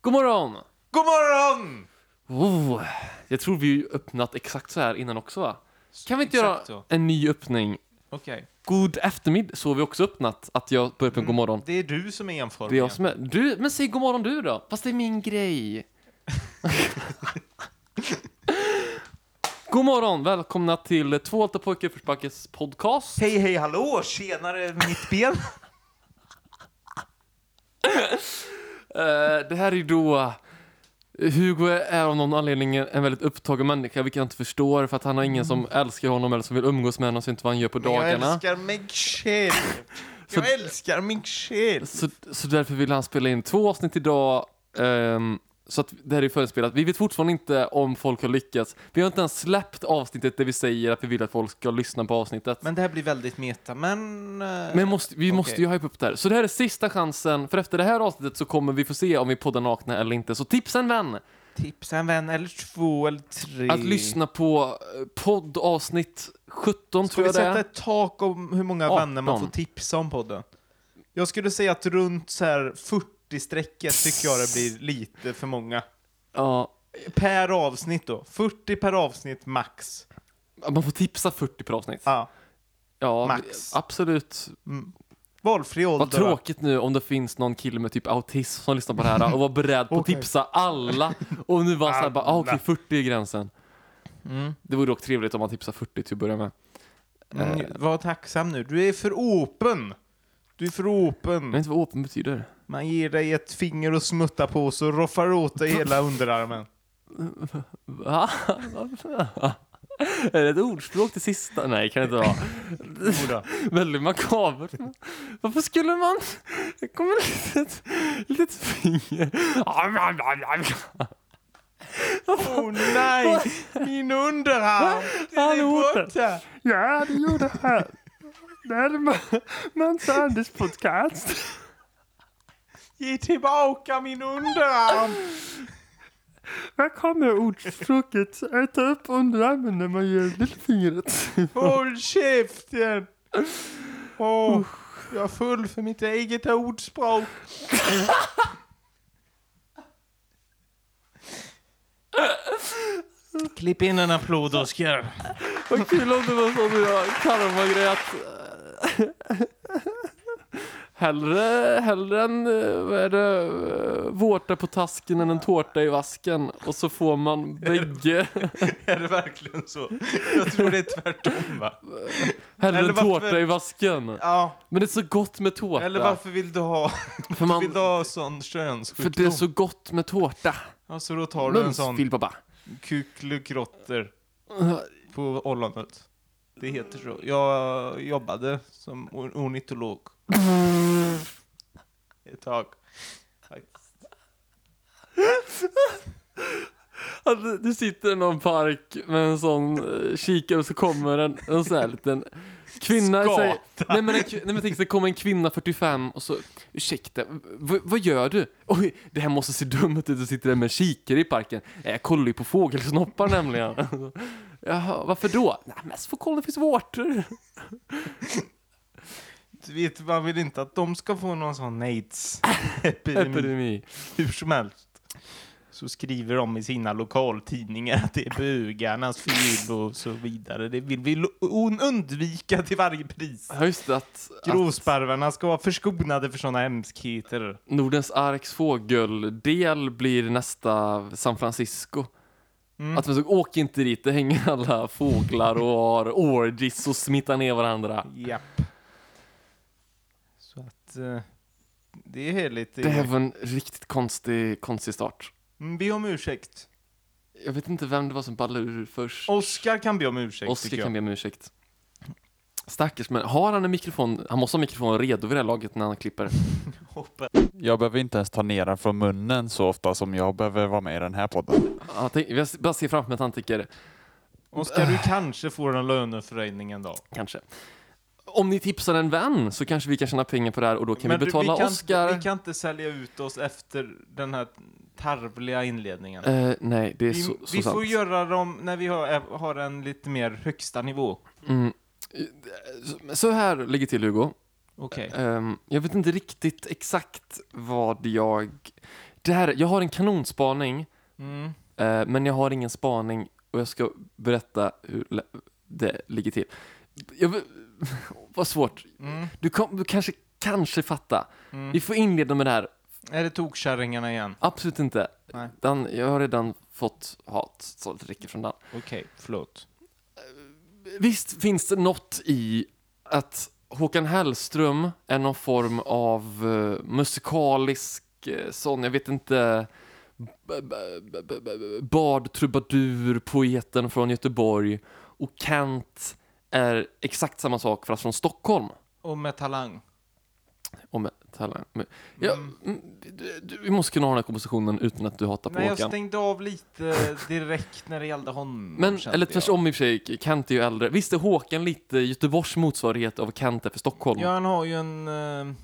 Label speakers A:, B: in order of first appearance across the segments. A: God morgon!
B: God morgon!
A: Oh, jag tror vi har öppnat exakt så här innan också va? Kan vi inte göra
B: Exakt så.
A: en ny öppning?
B: Okej.
A: God eftermiddag, så har vi också öppnat att jag börjar
B: Mm.
A: på god morgon.
B: Det är du som är
A: Det är
B: enformiga.
A: jag som är... Du, men säg god morgon du då! Fast det är min grej. god morgon, välkomna till Två alta pojkar i uppförsbackes podcast.
B: Hej, hej, hallå! Tjenare, mitt ben!
A: Eh, det här är ju då... eh, Hugo är av någon anledning en väldigt upptagen människa, vilket jag inte förstår, för att han har ingen som älskar honom eller som vill umgås med honom, så inte vad han gör på
B: Mm. Jag
A: dagarna.
B: älskar mig själv!
A: Så-
B: Jag älskar mig själv!
A: Så, så därför vill han spela in två avsnitt idag, ehm, så att det här är förinspelat. Vi vet fortfarande inte om folk har lyckats. Vi har inte ens släppt avsnittet där vi säger att vi vill att folk ska lyssna på avsnittet.
B: Men det här blir väldigt meta, men... eh,
A: Men måste, vi måste
B: Okej.
A: ju hypa upp det här. Så det här är sista chansen, för efter det här avsnittet så kommer vi få se om vi poddar nakna eller inte. Så tipsa en vän!
B: Tipsa en vän, eller två, eller tre.
A: Att lyssna på eh, poddavsnitt 17
B: Ska
A: tror
B: vi
A: jag det
B: sätta
A: är.
B: ett tak om hur många
A: 18?
B: vänner man får tipsa om podden? Jag skulle säga att runt så här 40-strecket tycker jag det blir lite för många.
A: Ja,
B: Per avsnitt då. 40 per avsnitt max.
A: man får tipsa 40 per avsnitt.
B: Ja.
A: Ja,
B: Ah, max.
A: absolut.
B: Mm. Valfri ålder.
A: Vad tråkigt nu om det finns någon kille med typ autism som lyssnar på det här och var beredd på att
B: Okej.
A: tipsa alla. Och nu var han såhär bara, ah, okej
B: Alla.
A: 40 är gränsen. Det vore dock trevligt om man tipsar 40 till att börja med.
B: Mm,
A: Eh.
B: Var tacksam nu. Du är för open. Du är för
A: Jag
B: open.
A: vet inte vad open betyder.
B: Man ger dig ett finger och smuttar på så roffar åt dig hela underarmen.
A: Va? Är det ett ordspråk till sista? Nej, kan det inte vara.
B: Jodå.
A: Väldigt makabert. Varför skulle man... Det kommer ett litet, litet finger.
B: Åh oh, nej! Min underarm! Den
A: Han åt
B: är
A: den.
B: borta!
A: Ja, det gjorde han. Det är Mans Anders podcast.
B: Ge tillbaka min underarm!
A: Här kommer ordspråket. Äta upp underarmen när man gör lillfingret.
B: Håll käften! Åh, jag är full för mitt eget ordspråk. Klipp in en applåd, Oskar.
A: Vad kul om det var så med jag karmagrej att... Hellre, hellre en eh, vad är det, eh, vårta på tasken än en tårta i vasken. Och så får man bägge.
B: Är det verkligen så? Jag tror det är tvärtom, va?
A: Hellre
B: Eller
A: en
B: varför-
A: tårta i vasken.
B: Ja,
A: Men det är så gott med tårta.
B: eller varför vill du ha,
A: För,
B: man, vill du
A: man,
B: ha sån
A: för
B: könssjukdom?
A: det är så gott med tårta.
B: Ja, så då tar du en
A: Mums,
B: sån
A: filpappa.
B: kuklugrotter på ollonet. Det heter så. Jag jobbade som or- ornitolog ett tag.
A: Att det- det sitter i någon park med en sån eh, kikare och så kommer en, en sån här liten kvinna.
B: Skata.
A: Säger, nej men, en, kvi- nej, men tänk så kommer en kvinna 45 och så ursäkta, v, vad gör du? Oj, det här måste se dumt ut och sitter där med en kikare i parken. Nej, jag kollar ju på fågelsnoppar nämligen. Jaha, varför då? Nej, mest för att kolla om det finns vårtor.
B: Du vet, man vill inte att de ska få någon sån aids-epidemi.
A: Epidemi.
B: Hur som helst. Så skriver de i sina lokaltidningar att det är bögarnas fel och så vidare. Det vill vi lo- un- undvika till varje pris.
A: Ja, just det, att, att
B: Grovsparvarna ska vara förskonade för såna hemskheter.
A: Nordens arks fågeldel blir nästa San Francisco.
B: Mm.
A: Att man så, åk inte dit, det hänger alla fåglar och har orgies och smittar ner varandra.
B: Japp. Så att eh, det är lite...
A: Det här var en riktigt konstig, konstig start.
B: Mm, Be om ursäkt.
A: Jag vet inte vem det var som ballade ur först.
B: Oskar kan be om ursäkt
A: Oskar
B: tycker jag.
A: kan be om ursäkt. Stackars men har han en mikrofon? Han måste ha mikrofonen redo vid det här laget när han klipper.
B: Hoppa.
C: Jag behöver inte ens ta ner den från munnen så ofta som jag behöver vara med i den här podden.
A: Han tänk, jag bara ser framför mig att han tänker,
B: Oskar, du kanske får en löneförhöjning en dag.
A: kanske. Om ni tipsar en vän så kanske vi kan tjäna pengar på det här och då kan
B: Men
A: vi
B: du,
A: betala
B: vi kan,
A: Oskar.
B: Vi kan inte sälja ut oss efter den här tarvliga inledningen.
A: Eh, nej, det är
B: vi
A: så, så
B: vi
A: sant.
B: får göra dem när vi har, har en lite mer högsta nivå.
A: Mm. Så- Så här ligger till Hugo.
B: Okej.
A: Ehm, jag vet inte riktigt exakt vad jag... Där, jag har en kanonspaning,
B: Mm.
A: eh, men jag har ingen spaning och jag ska berätta hur lä- det ligger till. Jag, vill- vad svårt.
B: Mm.
A: Du, kom, du kanske, kanske fattar.
B: Mm.
A: Vi får inleda med det här.
B: Är det tokkärringarna igen?
A: Absolut inte.
B: Nej.
A: Den, jag har redan fått hat, så det räcker från den.
B: Okej, förlåt.
A: Visst finns det något i att Håkan Hellström är någon form av eh, musikalisk eh, sån, jag vet inte, b- b- b- b- b- bardtrubadur, poeten från Göteborg och Kent är exakt samma sak fast från Stockholm.
B: Och med talang.
A: Och med talang. men- Ja, mm, du, du, vi måste kunna ha den här kompositionen utan att du hatar på
B: Nej, jag
A: Håkan.
B: stängde av lite direkt när det gällde honom.
A: Men,
B: kände
A: eller
B: jag.
A: tvärtom i och för sig, Kent är ju äldre. Visst är Håkan lite Göteborgs motsvarighet av Kent är för Stockholm?
B: Ja, han har ju en... eh,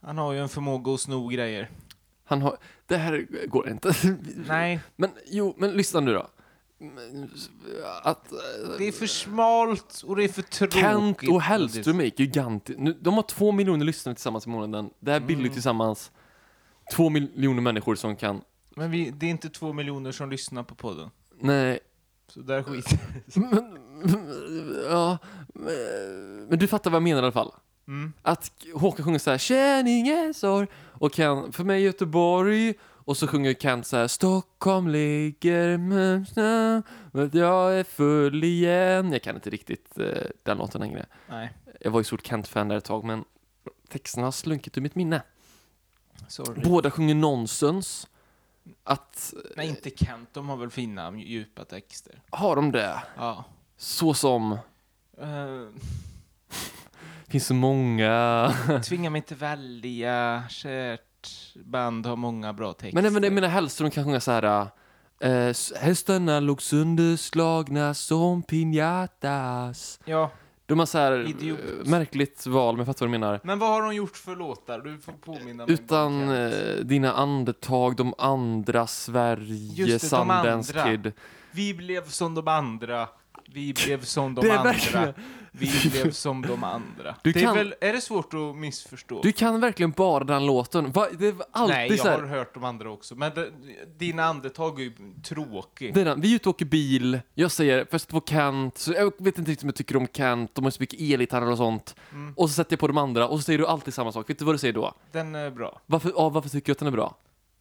B: han har ju en förmåga att sno grejer.
A: Han har... Det här går inte.
B: Nej,
A: Men jo, men lyssna nu då. Att eh,
B: det är för smalt och det är för tråkigt.
A: Kent och Hellström är gigantiskt. Nu, de har två miljoner lyssnare tillsammans i månaden. Det här bildar
B: Mm.
A: tillsammans två miljoner människor som kan...
B: Men vi, det är inte två miljoner som lyssnar på podden.
A: Nej.
B: Så där skiter
A: Men, ja, men du fattar vad jag menar i alla fall.
B: mm.
A: att Håkan sjunger så här Känn ingen sorg och Ken, för mig Göteborg och så sjunger Kent så här Stockholm ligger men snö, men jag är full igen. Jag kan inte riktigt eh, den låten längre.
B: Nej,
A: Jag var ju stort Kent-fan där ett tag men texterna har slunkit ur mitt minne.
B: sorry.
A: Båda sjunger nonsens. Att,
B: Nej, inte Kent. De har väl fina, djupa texter.
A: har de det?
B: Ja.
A: Så som,
B: Eh,
A: finns så många.
B: Tvinga mig inte välja, kärt band har många bra texter.
A: Men även det mina Hellström kan sjunga så här. eh, s- hästarna låg sönderslagna som piñatas.
B: Ja,
A: De har så här
B: Idiot.
A: eh, märkligt val, men jag fattar vad du menar.
B: men vad har de gjort för låtar? Du får påminna mig.
A: Utan
B: bara, Kent.
A: eh, dina andetag, de andra, Sverige,
B: Just det, de
A: Sundance
B: andra.
A: Kid.
B: Vi blev som de andra. Vi blev som de
A: Det är
B: andra.
A: verkligen-
B: Vi blev som de andra.
A: Du
B: det är,
A: kan-
B: väl, är det svårt att missförstå?
A: Du kan verkligen bara den låten. Va? Det är alltid
B: Nej, jag
A: så här.
B: har hört de andra också. Men det, dina andetag är ju tråkig.
A: Det är den. Vi är ute och åker bil, jag säger först på Kent, så jag vet inte riktigt om jag tycker om Kent, de har så mycket elgitarrer och sånt.
B: Mm.
A: Och så sätter jag på de andra och så säger du alltid samma sak. Vet du vad du säger då?
B: Den är bra.
A: Varför, ja, varför tycker jag att den är bra?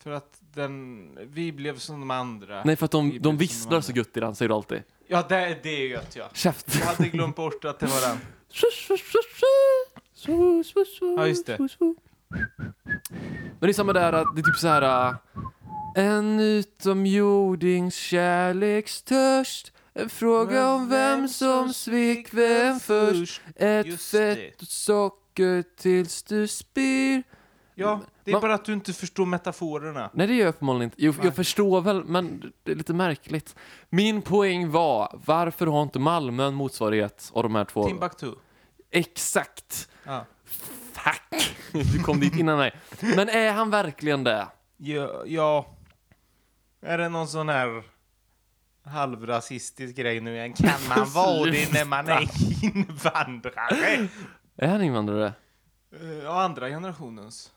B: För att den... Vi blev som de andra.
A: Nej, för att de, de
B: Vi blir som de
A: visslar
B: andra.
A: så gött i den, säger du alltid.
B: Ja, det, det är gött ja.
A: Käft!
B: Jag hade glömt bort att det var den. Ja, just det.
A: Men det är samma där, att det är typ så här... äh, En utomjordings kärlekstörst En fråga om vem som svek vem först Ett
B: Just det.
A: fett och socker tills du spyr
B: Ja, det
A: Va-
B: är bara att du inte förstår metaforerna.
A: Nej, det gör jag uppenbarligen inte. Jo,
B: Nej.
A: jag förstår väl, men det är lite märkligt. Min poäng var, varför har inte Malmö en motsvarighet av de här två?
B: Timbuktu.
A: Exakt!
B: Ja.
A: Fuck! Du kom dit innan mig. Men är han verkligen det?
B: Ja, ja. Är det någon sån här halvrasistisk grej nu igen? Kan man vara det när man är invandrare?
A: Är han invandrare?
B: Eh, Ja, andra generationens.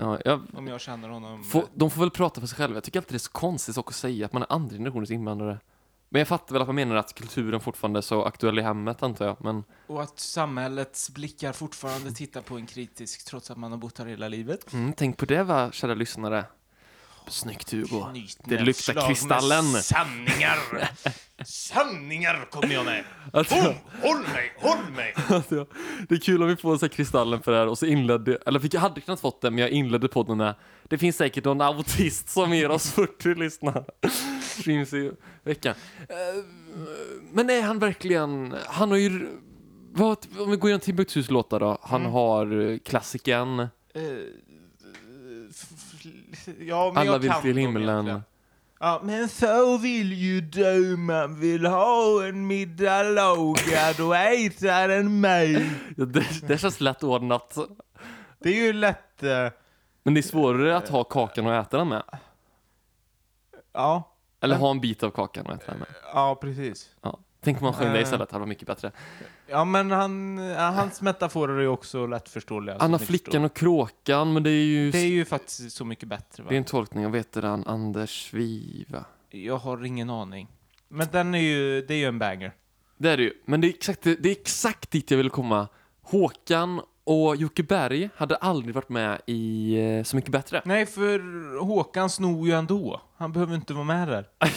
A: Ja, jag,
B: Om jag känner honom.
A: får, de får väl prata för sig själva. Jag tycker alltid det är så konstigt sak att säga att man är andra generationens invandrare. Men jag fattar väl att man menar att kulturen fortfarande är så aktuell i hemmet, antar jag. Men
B: Och att samhällets blickar fortfarande tittar på en kritisk trots att man har bott här hela livet.
A: mm, tänk på det, va, kära lyssnare. Snyggt, Hugo. Det luktar
B: Knytnävsslag med
A: kristallen.
B: Sanningar! Sanningar kommer jag med!
A: Att-
B: Boom! Håll mig, håll mig!
A: Alltså, jag- det är kul om vi får så här kristallen för det här och så inledde, eller fick, jag hade kunnat fått det men jag inledde podden med Det finns säkert någon autist som ger oss 40 lyssnare. Finns i veckan. Eh, Men är han verkligen, han har ju, vad, om vi går igenom Timbuktus låtar då. Han har eh, klassikern
B: Eh, f- f- ja, men
A: Alla
B: jag
A: vill
B: kan
A: till
B: dem
A: himlen.
B: egentligen. Ja, men så vill ju du man vill ha en middag lagad och äta den mig.
A: Ja, Det, det känns lätt ordnat.
B: Det är ju lätt. eh,
A: Men det är svårare att ha kakan och äta den med.
B: ja,
A: Eller ha en bit av kakan och äta den med.
B: ja precis.
A: Ja. Tänk om man sjöng det
B: Eh.
A: istället, det hade varit mycket bättre.
B: Ja, men han, ja, hans metaforer är ju också lättförståeliga. så
A: Anna
B: ni
A: flickan
B: förstår.
A: och kråkan, men det är ju...
B: Det är ju faktiskt så mycket bättre. Va?
A: Det är en tolkning av, vet du den, Anders Viva.
B: Jag har ingen aning. Men den är ju, det är ju en banger.
A: Det är det ju. Men det är exakt, det är exakt dit jag ville komma. Håkan och Jocke Berg hade aldrig varit med i eh, Så Mycket Bättre.
B: Nej, för Håkan snor ju ändå. Han behöver inte vara med där.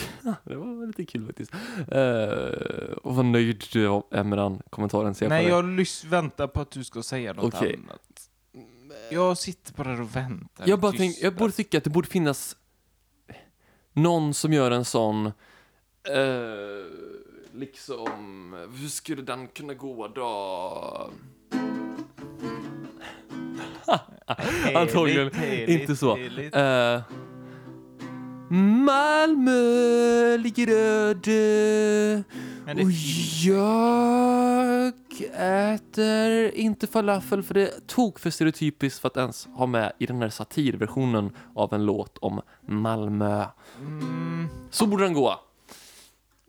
A: Det var lite kul faktiskt. Eh, och vad nöjd du är med den kommentaren. ser
B: Nej,
A: på dig.
B: jag lys- väntar på att du ska säga något
A: Okej.
B: annat. Jag sitter bara och väntar.
A: jag,
B: i
A: bara tänk, jag
B: tystnad.
A: borde tycka att det borde finnas någon som gör en sån, eh, liksom, hur skulle den kunna gå då? Antagligen
B: Heligt,
A: inte så.
B: heligt.
A: Eh, Malmö ligger öde
B: Men det-
A: och jag äter inte falafel för det är tog för stereotypiskt för att ens ha med i den här satirversionen av en låt om Malmö.
B: Mm.
A: Så borde den gå.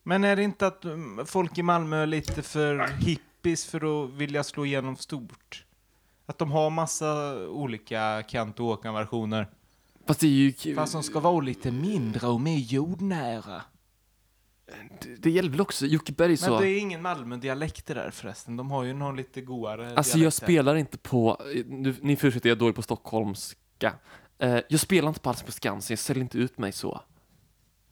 B: Men är det inte att mm, folk i Malmö är lite för hippies för att vilja slå igenom stort? Att de har massa olika Kent och Håkan-versioner.
A: Fast det är ju... k-
B: Fast de ska vara lite mindre och mer jordnära.
A: Det, det gäller väl också? Jocke Berg
B: Men
A: sa...
B: det är ingen Malmö-dialekt det där förresten. De har ju någon lite goare
A: Alltså jag
B: dialekt där.
A: spelar inte på, nu, ni får ursäkta jag är dålig på stockholmska. Eh, jag spelar inte på alls på Skansen, jag säljer inte ut mig så.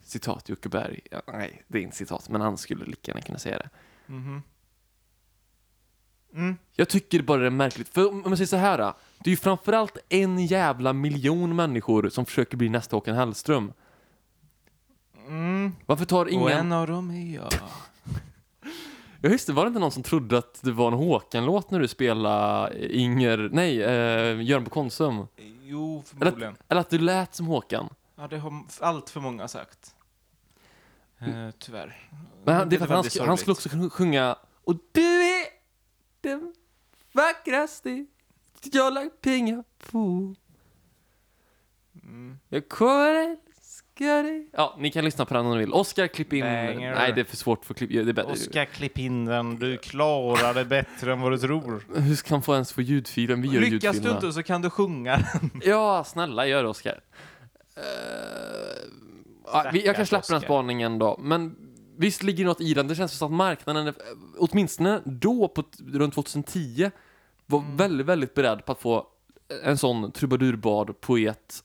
A: Citat Jocke Berg. Ja, nej, det är inte citat, men han skulle lika gärna kunna säga det.
B: Mhm. Mm.
A: Jag tycker bara det är märkligt, för om man säger så här. då, Det är ju framförallt en jävla miljon människor som försöker bli nästa Håkan Hellström.
B: Mm.
A: Varför tar
B: Och
A: ingen...
B: en av dem är jag.
A: Ja just det, var det inte någon som trodde att det var en Håkan-låt när du spelade Inger... Nej, eh, Göran på Konsum.
B: Jo, förmodligen.
A: Eller att du lät som Håkan.
B: Ja, det har allt för många sagt. Eh, tyvärr.
A: Men han, det är
B: är
A: för att han,
B: väldigt
A: sk- han skulle
B: sorgligt.
A: också sjung- sjunga Och du är den vackraste jag lagt pengar på
B: Mm.
A: Jag kommer älska dig Ja, ni kan lyssna på den om ni vill. Oskar, klipp in...
B: Banger.
A: Nej, det är för svårt för klipp... ja, Det är bättre.
B: Oskar, klipp in den. Du klarar det bättre än vad du tror.
A: Hur ska han få ens få ljudfilen? Vi gör
B: Lyckas du
A: ljudfilerna.
B: inte så kan du sjunga.
A: Ja, snälla gör det Oskar. Eh, ja, vi- jag kan
B: Stackars
A: släppa den
B: Oscar.
A: spaningen då, men visst ligger det något i den. Det känns som att marknaden, eh, åtminstone då på t- runt 2010, var
B: Mm.
A: väldigt, väldigt beredd på att få en sån trubadurbad poet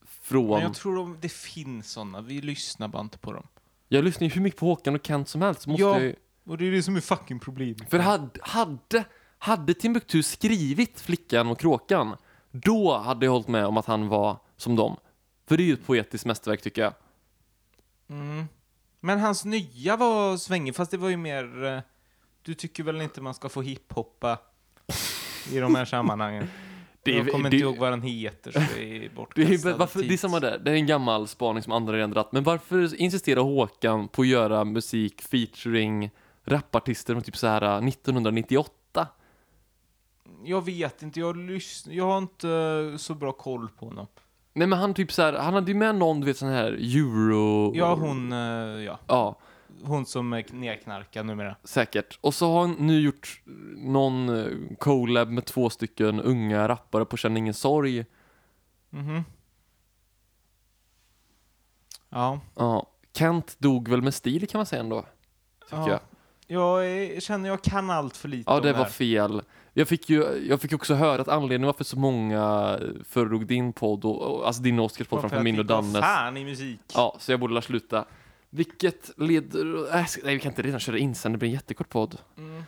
B: Men
A: från... Jag,
B: jag tror de, det finns sådana. Vi lyssnar bara inte på dem.
A: lyssnar ju hur mycket på Håkan och Kent som helst. så Måste
B: Ja.
A: jag ju...
B: Och det är det som är fucking problemet.
A: För hade, hade, hade Timbuktu skrivit Flickan och Kråkan, då hade jag hållit med om att han var som dem. För det är ju ett poetiskt mästerverk tycker jag.
B: Mm. Men hans nya var svängig, fast det var ju mer... eh, Du tycker väl inte man ska få hiphoppa i de här sammanhangen?
A: Det är-
B: jag kommer
A: det-
B: inte ihåg vad den heter, så det är
A: Det
B: bortkastad
A: är, varför, det är
B: tid.
A: samma där, det är en gammal spaning som andra redan dratt. Men varför insisterar Håkan på att göra musik featuring rapartister från typ så här 1998?
B: Jag vet inte, jag, lyssn- jag har inte eh, så bra koll på honom.
A: Nej men han typ så här, han hade ju med någon du vet sån här euro...
B: Ja, hon, eh, ja,
A: Ja,
B: hon som är nerknarkad numera.
A: säkert. Och så har han nu gjort äh, någon eh, collab med två stycken unga rappare på Känn ingen sorg.
B: Mhm. Ja.
A: Ja, Kent dog väl med stil kan man säga ändå. Tycker
B: Ja.
A: jag.
B: Jag är, känner jag kan allt för lite
A: Ja,
B: om
A: det
B: här.
A: var fel. Jag fick ju jag fick också höra att anledningen varför så många föredrog din podd, och, och, alltså din Oscarspodd
B: Varför
A: framför
B: jag
A: min och
B: tycker, vad
A: Dannes.
B: fan i musik.
A: Ja, så jag borde la sluta. Vilket leder... Äh, ska- nej, vi kan inte redan köra in sen, det blir en jättekort podd.
B: Mm.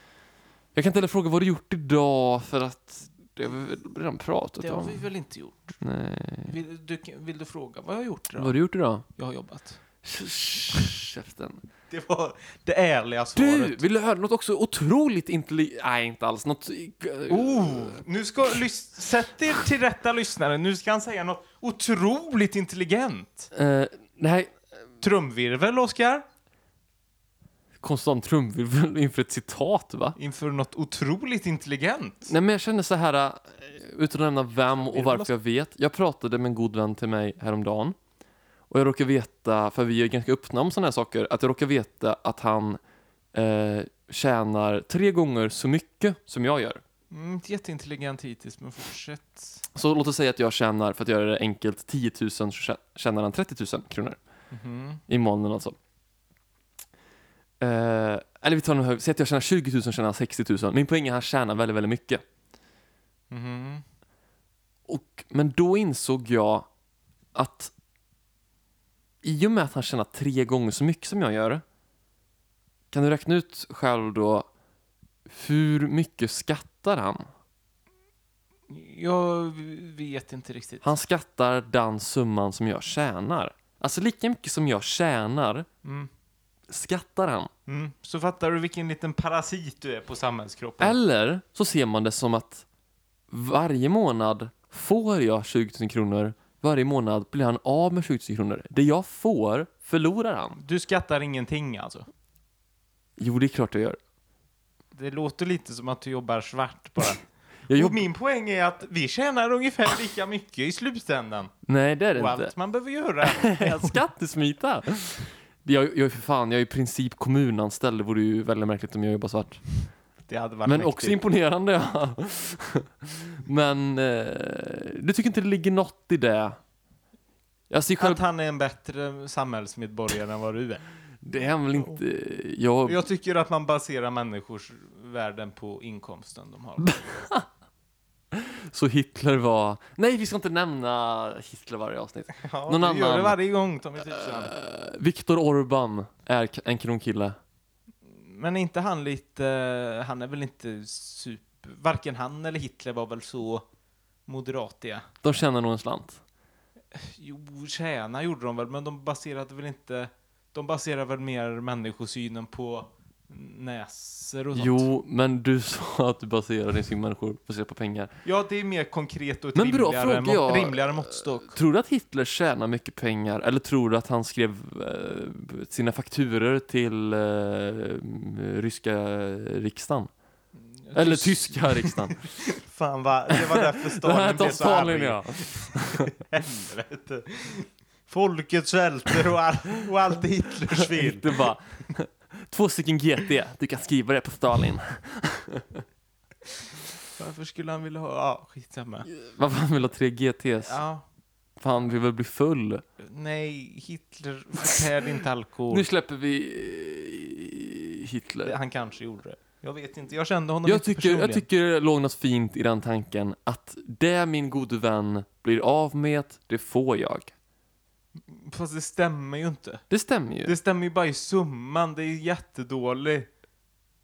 A: Jag kan inte heller fråga vad du gjort idag för att det har vi väl redan pratat
B: Det har
A: om.
B: vi väl inte gjort?
A: Nej.
B: Vill du, vill du fråga vad jag har gjort
A: Eh. Vad
B: idag?
A: har du gjort idag?
B: Jag har jobbat.
A: Käften.
B: Det var det ärliga
A: Du,
B: svaret.
A: vill du höra något också otroligt intelligent? Nej, inte alls. Något... eh,
B: Oh, nu ska lys- Sätt er till rätta lyssnare. Nu ska han säga något otroligt intelligent.
A: Eh, nej,
B: Trumvirvel, Oskar.
A: konstant trumvirvel inför ett citat, va?
B: Inför något otroligt intelligent.
A: Nej men jag känner så här, eh, utan att nämna vem och
B: väl
A: varför jag vet. Jag pratade med en god vän till mig häromdagen. Och jag råkar veta, för vi är ganska öppna om sådana här saker, att jag råkar veta att han eh, tjänar tre gånger så mycket som jag gör.
B: Mm, inte jätteintelligent hittills, men fortsätt.
A: Så låt oss säga att jag tjänar, för att göra det enkelt, 10 000 så tjä- tjänar han 30 000 kronor
B: Mhm.
A: i månaden alltså. Eh, eller vi tar en hög, säg att jag tjänar 20 000 tjänar han 60 000. Min poäng är att han tjänar väldigt, väldigt mycket. Mm-hmm.
B: Mhm.
A: Och, men då insåg jag att i och med att han tjänar tre gånger så mycket som jag gör, kan du räkna ut själv då hur mycket skattar han?
B: Jag vet inte riktigt.
A: Han skattar den summan som jag tjänar. Alltså lika mycket som jag tjänar
B: Mm.
A: skattar han.
B: Mm. Så fattar du vilken liten parasit du är på samhällskroppen?
A: Eller så ser man det som att varje månad får jag 20 000 kronor, varje månad blir han av med 20 000 kronor. Det jag får förlorar han.
B: Du skattar ingenting alltså?
A: Jo, det är klart jag gör.
B: Det låter lite som att du jobbar svart bara.
A: Jag
B: Och
A: jobb...
B: min poäng är att vi tjänar ungefär lika mycket i slutändan.
A: Nej, det är det
B: Och
A: inte.
B: allt man behöver göra.
A: Jag Skattesmita! Jag, jag är för fan, jag är i princip kommunanställd. Det vore ju väldigt märkligt om jag jobbar svart.
B: Det hade varit
A: Men
B: mäktigt.
A: också imponerande. Ja. Men eh, du tycker inte det ligger något i det? Jag ser själv,
B: Att han är en bättre samhällsmedborgare än vad du är.
A: det är väl inte... Jag,
B: Jag tycker att man baserar människors värden på inkomsten de har.
A: Så Hitler var... Nej, vi ska inte nämna Hitler varje avsnitt.
B: Ja,
A: Någon
B: du
A: annan?
B: gör det varje gång typ Tommy Tusen.
A: Eh, Viktor Orban är k- en kronkille.
B: Men är inte han lite, eh, han är väl inte super, varken han eller Hitler var väl så moderatiga?
A: De tjänar nog en slant.
B: Jo, tjäna gjorde de väl, men de baserade väl inte, de baserade väl mer människosynen på näsor och sånt.
A: Jo, men du sa att du baserar din syn på människor baserat på pengar.
B: Ja, det är mer konkret och ett
A: Men bra
B: rimligare,
A: fråga,
B: må-
A: jag-
B: rimligare måttstock.
A: Tror du att Hitler tjänar mycket pengar? Eller tror du att han skrev eh, sina fakturer till eh, ryska riksdagen? Eller
B: Tyst-
A: tyska riksdagen?
B: Fan vad, det var därför
A: Det här
B: Stalin
A: tar
B: blev så
A: Stalin,
B: arg.
A: ja.
B: Helvete. Folket svälter och, all, och allt är Hitlers fel.
A: Hitler bara... Två stycken GT, du kan skriva det på Stalin.
B: Varför skulle han vilja ha, ja skitsamma.
A: Varför han vill ha tre GTs?
B: Ja,
A: För han vill väl bli full?
B: nej, Hitler förtärde inte alkohol.
A: Nu släpper vi eh, Hitler.
B: Han kanske gjorde det. Jag vet inte, jag kände honom
A: Jag
B: inte
A: tycker, jag
B: personligen.
A: tycker det låg något fint i den tanken att det min gode vän blir av med, det får jag.
B: Fast det stämmer ju inte.
A: Det stämmer ju.
B: Det stämmer ju bara i summan, det är ju jättedålig.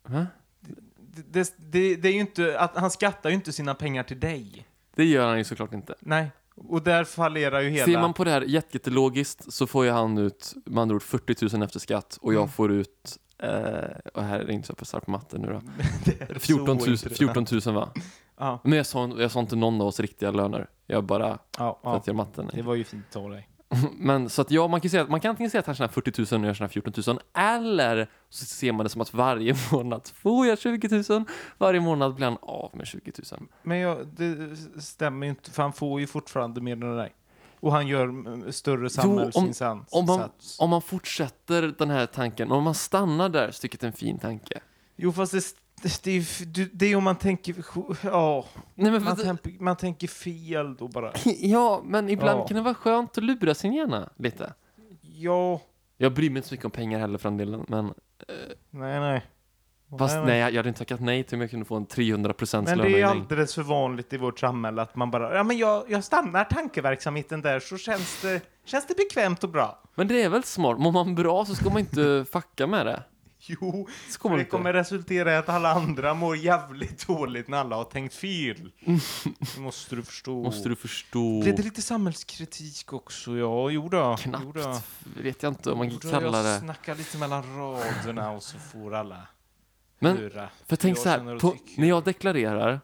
A: Va?
B: Det, det, det, det är ju inte, att, han skattar ju inte sina pengar till dig.
A: Det gör han ju såklart inte.
B: Nej, och där fallerar ju hela...
A: Ser man på det här jätte- jättelogiskt så får ju han ut med andra ord 40 000 efter skatt och jag
B: Mm.
A: får ut, eh, och här är det inte så precis på matten nu då,
B: Det är så
A: 14 000,
B: ointressant.
A: 14 000 va?
B: Ja,
A: Men jag sa, jag sa inte någon av oss riktiga löner, jag bara,
B: ja,
A: för
B: ja.
A: att jag matten är
B: Det var ju fint av dig.
A: Men så att ja, man kan, ju säga, man kan antingen säga att han tjänar 40 000 och jag tjänar 14 000 eller så ser man det som att varje månad får jag 20 000, varje månad blir han av med 20 000.
B: Men jag, det stämmer ju inte, för han får ju fortfarande mer än dig. Och han gör mm, större samhällsinsats.
A: om man-
B: sats.
A: Om man fortsätter den här tanken, om man stannar där, så tycker jag det är en fin tanke.
B: Jo, fast det, det, det, är ju f- du- det är om man tänker... Ja,
A: Nej, men,
B: man,
A: för, att-
B: tänker, man tänker fel då bara.
A: ja, men ibland
B: Ja.
A: kan det vara skönt att lura sin hjärna lite.
B: Ja,
A: Jag bryr mig inte så mycket om pengar heller för den delen, men
B: nej, nej.
A: fast nej, jag jag hade inte tackat nej till om jag kunde få en 300%
B: Men det är
A: lönehöjning.
B: alldeles för vanligt i vårt samhälle att man bara, ja men jag, jag stannar tankeverksamheten där så känns det, känns det bekvämt och bra.
A: Men det är väl smart, mår man bra så ska man inte fucka med det.
B: Jo,
A: Så
B: för
A: kommer
B: det
A: inte.
B: kommer resultera i att alla andra mår jävligt dåligt när alla har tänkt fel. Det måste du förstå.
A: Måste du förstå.
B: Blev det lite samhällskritik också? Ja, jo då. Jo
A: Knappt
B: då.
A: vet jag inte om man
B: Jo
A: kan
B: då,
A: kalla
B: Jag
A: det.
B: snackar lite mellan raderna och så får alla
A: Men
B: höra.
A: för tänk
B: jag
A: så
B: känner
A: här,
B: och
A: på,
B: tycker.
A: när jag deklarerar,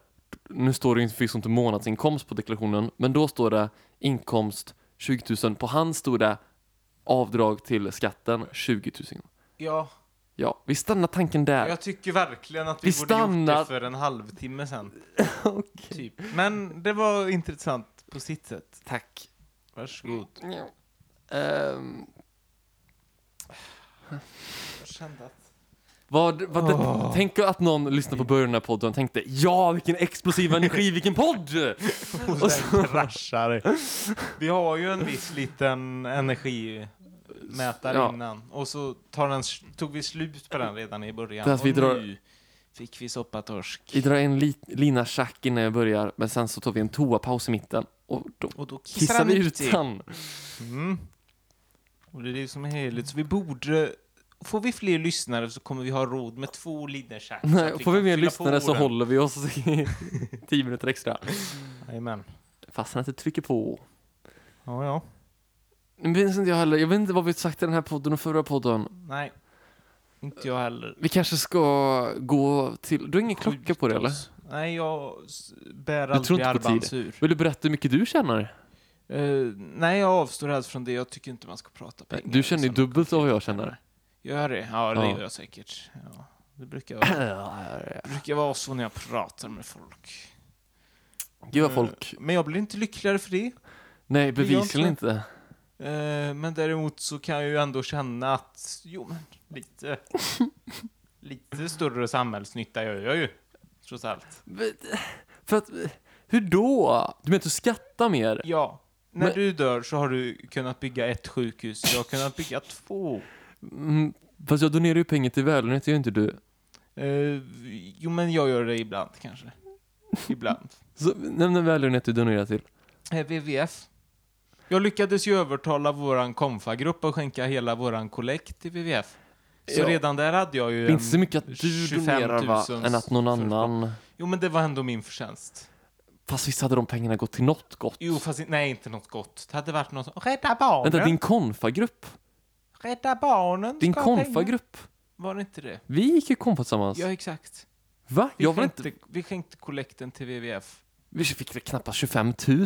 A: nu står det ju inte finns inte månadsinkomst på deklarationen, men då står det inkomst 20 000. På hans stod det avdrag till skatten 20 000.
B: Ja,
A: Ja, vi stannar tanken där.
B: jag tycker verkligen att vi,
A: Vi
B: borde
A: stannar-
B: gjort det för en halvtimme sen.
A: Okej.
B: Typ. Men det var intressant på sitt sätt.
A: Tack. Mm.
B: Varsågod.
A: Ehm,
B: Jag kände att
A: Vad, vad det,
B: Åh.
A: Tänk att någon lyssnar på början av den här podden och tänkte ja, vilken explosiv energi, vilken podd!
B: Och sen kraschar det. Vi har ju en viss liten energimätare
A: Ja.
B: innan. Och så tar den, tog vi slut på den redan i början.
A: Fast
B: Och
A: vi drar-
B: nu fick vi soppatorsk.
A: Vi drar en li, lina schack innan jag börjar, men sen så tar vi en toapaus i mitten och då
B: Och då kissar,
A: kissar
B: han
A: vi
B: ut
A: ut
B: sig.
A: den.
B: Mm. Och det är det som är heligt. Så vi borde... Får vi fler lyssnare så kommer vi ha råd med två linnershack.
A: Nej, får vi mer lyssnare så håller vi oss i tio minuter extra.
B: Jajamän.
A: Fast han inte trycker på.
B: Ja, ja.
A: Men minns inte jag heller. Jag vet inte vad vi sagt i den här podden och förra podden.
B: Nej. Inte jag heller.
A: Vi kanske ska gå till... Du har ingen klocka
B: Skjut
A: på dig eller?
B: oss. Nej, jag s- bär
A: Du tror
B: aldrig
A: inte på tid?
B: armbandsur.
A: Vill du berätta hur mycket du tjänar?
B: Eh, nej, jag avstår helst från det. Jag tycker inte man ska prata pengar.
A: Du känner ju
B: Sådana
A: dubbelt av vad jag
B: konkreta
A: känner.
B: pengar. Gör det? Ja, det
A: Ja.
B: gör jag säkert. Ja. Det brukar, vara- det brukar vara så när jag pratar med folk.
A: Gud vad
B: Eh,
A: folk...
B: Men jag blir inte lyckligare för det.
A: Nej,
B: gör
A: bevisligen
B: inte
A: inte.
B: Eh, men däremot så kan jag ju ändå känna att, jo men lite, lite större samhällsnytta gör jag ju. Trots allt.
A: För att... Hur då? Du menar att du skattar mer?
B: Ja. När
A: Men-
B: du dör så har du kunnat bygga ett sjukhus, jag har kunnat bygga två.
A: Mm, fast jag donerar ju pengar till välgörenhet, det gör inte du.
B: Eh, jo men jag gör det ibland kanske. Ibland.
A: Så nämn en välgörenhet du donerar till.
B: Eh, WWF. Jag lyckades ju övertala våran konfagrupp att skänka hela våran kollekt till WWF. Så
A: Ja.
B: redan där hade jag ju
A: Det är inte så mycket att du
B: 25 000
A: donerar va, än att någon
B: för-
A: annan...
B: Jo men det var ändå min förtjänst.
A: Fast visst hade de pengarna gått till något gott?
B: Jo fast i- nej, inte något gott. Det hade varit något som, rädda barnen!
A: Vänta, din konfagrupp?
B: Rädda barnen!
A: Din
B: ska ha pengar."
A: konfagrupp?
B: Var det inte det?
A: Vi gick ju konfa tillsammans.
B: Ja exakt.
A: Va?
B: Vi,
A: Alltså, Jag var
B: skänkte,
A: inte...
B: vi skänkte kollekten till WWF.
A: Vi fick väl knappt 25 000?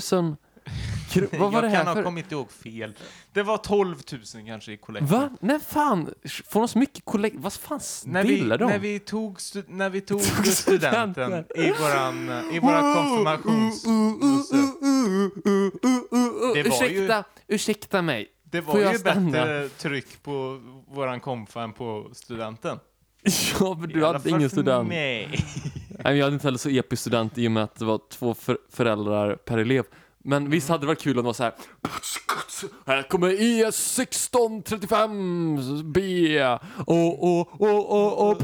A: Kr- Vad var
B: jag
A: det
B: kan
A: här
B: ha
A: för?
B: kommit ihåg fel. Det var 12 000 kanske i kollekten.
A: Va? Nej fan! Får de så mycket kollekt... Vad fan
B: När vi,
A: stillar de?
B: när vi tog, stu, när vi tog
A: Tog
B: studenten i våran, i våra konfirmations...
A: uh,
B: Det var ju-
A: Ursäkta, ursäkta mig.
B: Det var
A: Får jag
B: ju
A: stanna?
B: bättre tryck på våran konfa än på studenten.
A: Ja, men
B: I
A: du
B: alla
A: hade
B: fall
A: ingen
B: för
A: student. Nej,
B: mig.
A: men jag hade inte heller så episk student i och med att det var två för föräldrar per elev. Men visst
B: Mm.
A: hade det varit kul om det var så här. Här kommer E IS 1635B. Och, och, och, och, och.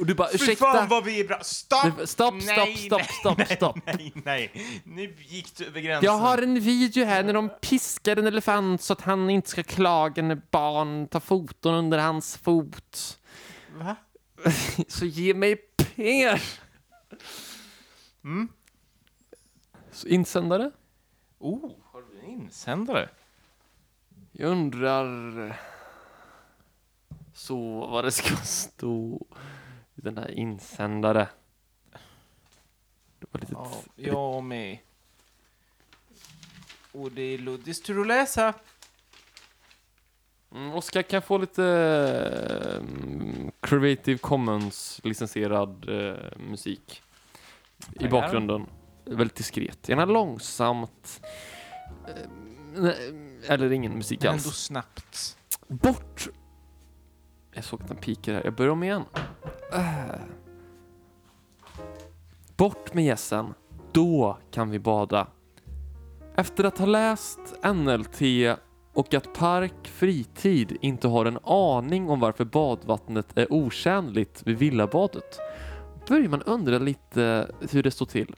A: Och du bara
B: Fy fan
A: Ah, ursäkta.
B: vad vi är bra! Stopp!
A: Nej, Stopp, stopp,
B: Nej,
A: stopp, stopp, stopp.
B: Nej, nej. Nu gick du över gränsen.
A: Jag har en video här när de piskar en elefant så att han inte ska klaga när barn tar foton under hans fot.
B: Va?
A: Så ge mig pengar!
B: Mm.
A: Så Insändare?
B: Oh, har du en insändare?
A: Jag undrar... Så vad det ska stå i den här insändare. Det var lite...
B: Ja, jag med. Och det är Luddis tur att läsa.
A: Mm, Oskar, kan jag få lite mm, Creative Commons licensierad eh, musik i
B: Tackar.
A: bakgrunden? Väldigt diskret. Gärna långsamt. Eh, nej, eller ingen musik
B: Men ändå
A: alls.
B: snabbt.
A: Bort! Jag såg att den pikar här. Jag börjar om igen. Äh. Bort med gässen. Då kan vi bada. Efter att ha läst NLT och att Park Fritid inte har en aning om varför badvattnet är otjänligt vid villabadet börjar man undra lite hur det står till.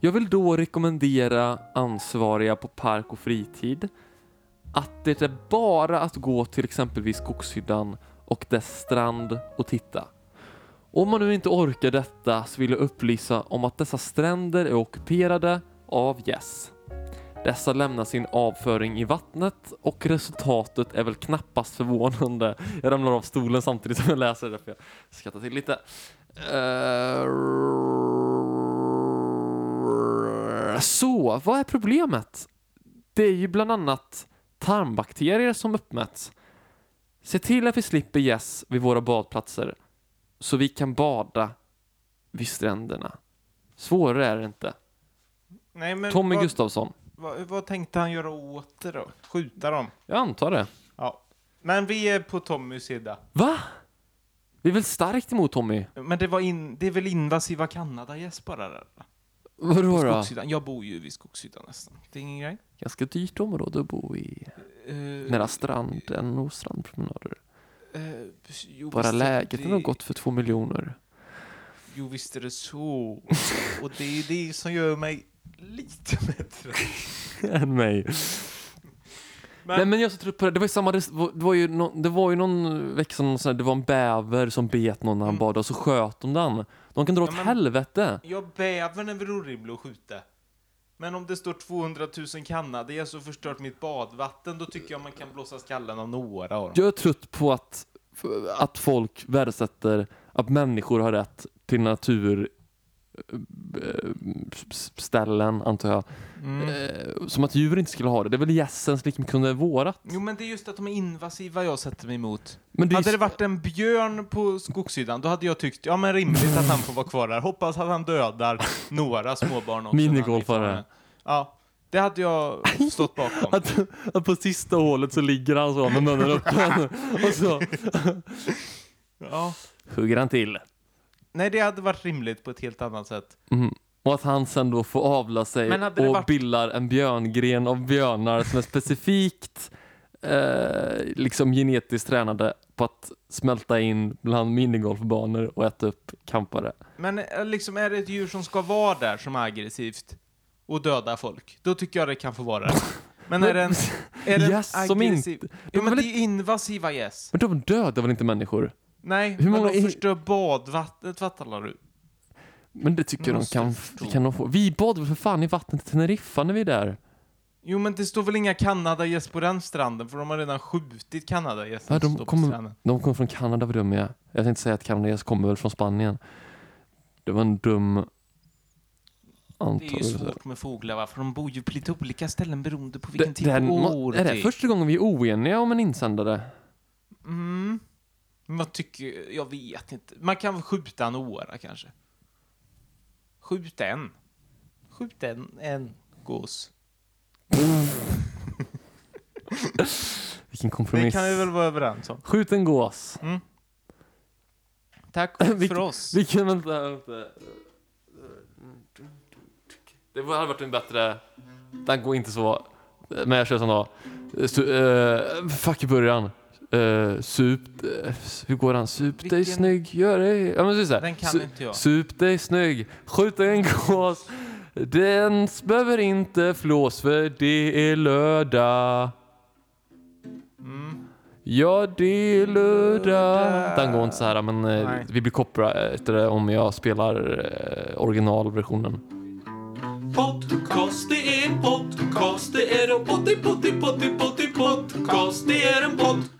A: Jag vill då rekommendera ansvariga på Park och Fritid att det är bara att gå till exempelvis Skogshyddan och dess strand och titta. Om man nu inte orkar detta så vill jag upplysa om att dessa stränder är ockuperade av gäss. Dessa lämnar sin avföring i vattnet och resultatet är väl knappast förvånande. Jag ramlar av stolen samtidigt som jag läser därför jag skrattar till lite. Eh, Så, vad är problemet? Det är ju bland annat tarmbakterier som uppmätts. Se till att vi slipper gäss vid våra badplatser så vi kan bada vid stränderna. Svårare är det inte.
B: Nej, men
A: Tommy
B: vad,
A: Gustafsson.
B: vad, vad tänkte han göra åt det då? Skjuta dem?
A: Jag antar det.
B: Ja. Men vi är på Tommys sida.
A: Va? Vi är väl starkt emot Tommy?
B: Men det, var in, det är väl invasiva Kanadagäss bara där? va?
A: Vadå då?
B: Skogshyddan. Jag bor ju vid Skogshyddan nästan. Det är ingen grej.
A: Ganska dyrt område att bo i.
B: Eh,
A: Nära stranden och strandpromenader.
B: eh, jo,
A: Bara
B: visst är
A: lägenheten
B: det-
A: har gått för två miljoner.
B: Jo, visst är det så. Och det är det som gör mig lite bättre.
A: Än mig.
B: Men-
A: Nej men jag är så trött på det. Det var ju samma, det var ju, nå- det var ju någon vecka som sån här, det var en bäver som bet någon när han
B: Mm.
A: badade och så sköt de den. De kan dra
B: Ja,
A: åt
B: men-
A: helvete.
B: Jag bävern är väl orimlig att skjuta. Men om det står 200 000 kanadier så förstört mitt badvatten, då tycker jag man kan blåsa skallen av några av dem.
A: Jag är trött på att, att folk värdesätter att människor har rätt till eh, naturställen, antar jag.
B: Mm.
A: Eh, Som att djur inte skulle ha det. Det är väl gässens lika mycket som det är vårat.
B: Jo, men det är just att de är invasiva jag sätter mig emot.
A: Men det är
B: hade
A: ju-
B: det varit en björn på skogssidan, då hade jag tyckt, ja men rimligt att han får vara kvar där. Hoppas att han dödar några småbarn också. när han blir
A: Minigolfare.
B: faren. Ja, det hade jag stått bakom.
A: Att, att på sista hålet så ligger han så med munnen öppen och så
B: Ja.
A: hugger han till.
B: Nej, det hade varit rimligt på ett helt annat sätt.
A: Mm. Och att han sen då får avla sig
B: Men hade det
A: och
B: varit-
A: bildar en björngren av björnar som är specifikt eh, liksom genetiskt tränade på att smälta in bland minigolfbanor och äta upp kampare.
B: Men eh, liksom, är det ett djur som ska vara där som är aggressivt och döda folk, då tycker jag det kan få vara där. Men är det en, är det en
A: Gäss som
B: aggressiv...
A: De
B: Jo,
A: är
B: men det
A: väl
B: är ju invasiva gäss.
A: Men de dödar väl inte människor?
B: Nej,
A: Hur många
B: men de
A: är-
B: förstör badvattnet, fattar du?
A: Men det tycker jag de
B: Måste
A: kan,
B: förstå.
A: kan de få. Vi badade väl för fan i vattnet i Teneriffa när vi är där?
B: Jo, men det står väl inga kanadagäss på den stranden, för de har redan skjutit kanadagässen
A: Ja,
B: som
A: de
B: står
A: kommer-
B: på stranden.
A: De kommer från Kanada, vad dum jag är. Jag tänkte säga att kanadagäss kommer väl från Spanien. Det var en dum
B: Det är ju
A: antagelse.
B: svårt med fåglar, va? för de bor ju på lite olika ställen beroende på
A: Det,
B: vilken tid
A: det här,
B: på
A: må-
B: året
A: är det första gången vi är oeniga om en insändare?
B: Mm. Men vad tycker... Jag vet inte. Man kan väl skjuta en åra kanske. Skjut en. Skjut en, en gås.
A: Vilken
B: Det
A: kompromiss.
B: kan vi väl vara överens om.
A: Skjut en gås.
B: Tack
A: Vilken-
B: för oss.
A: Vilken, vänta, vänta. Det hade varit en bättre... Den går inte så. Men jag kör som då. Stu, eh, fuck i början. Uh, sup... eh, hur går han? Sup dig
B: Vilken-
A: snygg, gör dig... Ja, men så är det så här.
B: Den kan
A: Su-
B: inte jag.
A: Sup dig snygg, skjut en gås. Den behöver inte flås för det är lördag.
B: Mm.
A: Ja, det är lördag.
B: Lördag.
A: Den går inte så här, men eh,
B: Nej.
A: vi blir copyrightade om jag spelar eh, originalversionen. Podcast, det är en podcast, det är en potti potti potti potti podcast, det är en podcast.